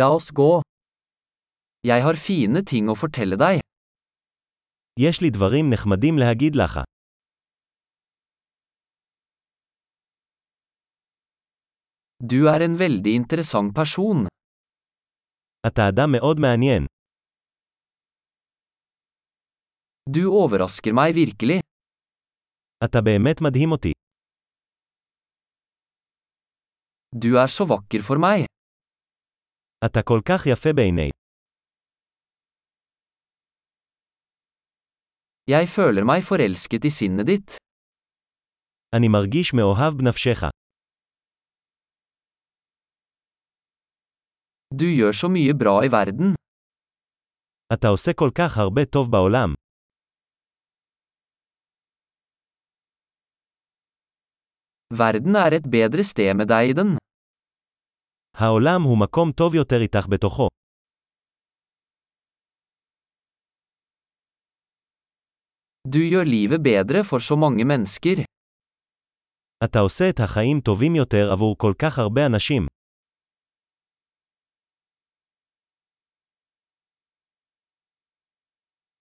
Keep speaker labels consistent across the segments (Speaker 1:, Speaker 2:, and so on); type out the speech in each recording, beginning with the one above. Speaker 1: La oss gå. Jeg har fine ting å fortelle deg.
Speaker 2: יש לי דברים נחמדים להגיד לך.
Speaker 1: Du er en veldig interessant person.
Speaker 2: אתה אדם מאוד מעניין.
Speaker 1: Du overrasker meg virkelig.
Speaker 2: אתה באמת מדהים אותי.
Speaker 1: Du er så vakker for meg.
Speaker 2: אתה כל כך יפה בעיני.
Speaker 1: Jeg føler meg forelsket i sinnet ditt.
Speaker 2: אני מרגיש מאוהב בנפשך.
Speaker 1: Du gjør så mye bra i verden.
Speaker 2: אתה עושה כל כך הרבה טוב בעולם.
Speaker 1: Verden er et bedre sted med deg i den.
Speaker 2: העולם הוא מקום טוב יותר איתך בתוכו.
Speaker 1: Du gjør livet bedre for så mange mennesker.
Speaker 2: אתה עושה את החיים טובים יותר עבור כל כך הרבה אנשים.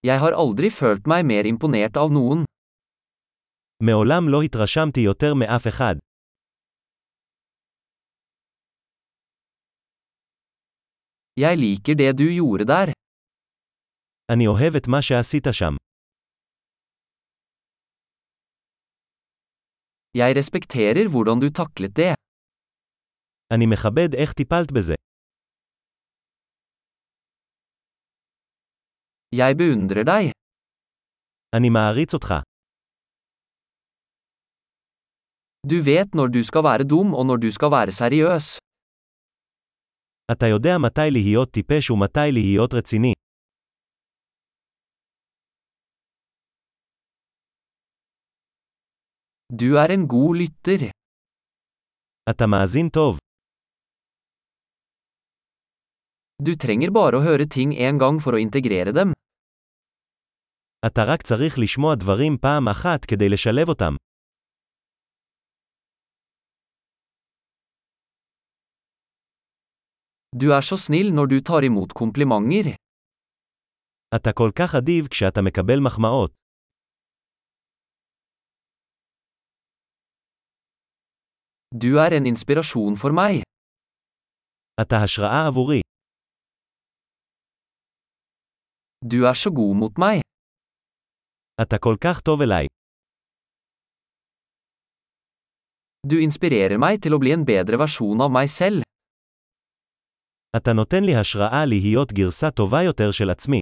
Speaker 1: Jeg har aldri følt meg mer imponert av noen.
Speaker 2: מעולם לא התרשמתי יותר מאף אחד.
Speaker 1: Jeg liker det du gjorde der.
Speaker 2: אני אוהב את מה שעשית שם.
Speaker 1: Jeg respekterer hvordan du taklet det.
Speaker 2: אני מכבד איך טיפלת בזה.
Speaker 1: Jeg beundrer deg.
Speaker 2: אני מעריץ אותך.
Speaker 1: Du vet når du skal være dum og når du skal være seriøs.
Speaker 2: אתה יודע מתי להיות טיפש ומתי להיות רציני.
Speaker 1: Du er en god lytter.
Speaker 2: אתה מאזין טוב.
Speaker 1: Du trenger bare å høre ting en gang for å integrere dem.
Speaker 2: אתה רק צריך לשמוע דברים פעם אחת כדי לשלב אותם.
Speaker 1: Du er så snill når du tar imot komplimenter.
Speaker 2: אתה כל כך אדיב כשאתה מקבל מחמאות.
Speaker 1: Du er en inspirasjon for meg.
Speaker 2: אתה השראה עבורי.
Speaker 1: Du er så god mot meg.
Speaker 2: אתה כל כך טוב אליי.
Speaker 1: Du inspirerer meg til å bli en bedre versjon av meg selv.
Speaker 2: אתה נותן לי השראה להיות גרסה טובה יותר של עצמי.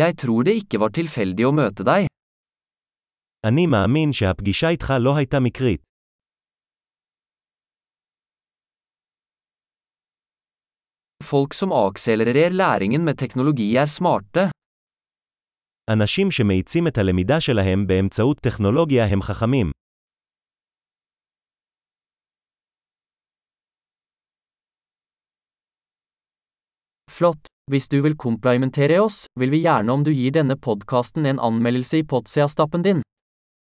Speaker 1: Jeg tror det ikke var tilfeldig å møte deg.
Speaker 2: אני מאמין שהפגישה איתך לא הייתה מקרית.
Speaker 1: Folk som akselererer læringen med teknologi er smarte.
Speaker 2: אנשים שמאיצים את הלמידה שלהם באמצעות טכנולוגיה הם חכמים.
Speaker 3: Flott. Hvis du vil komplimentere oss, vil vi gjerne om du gir denne podkasten en anmeldelse i Potsia-stappen din.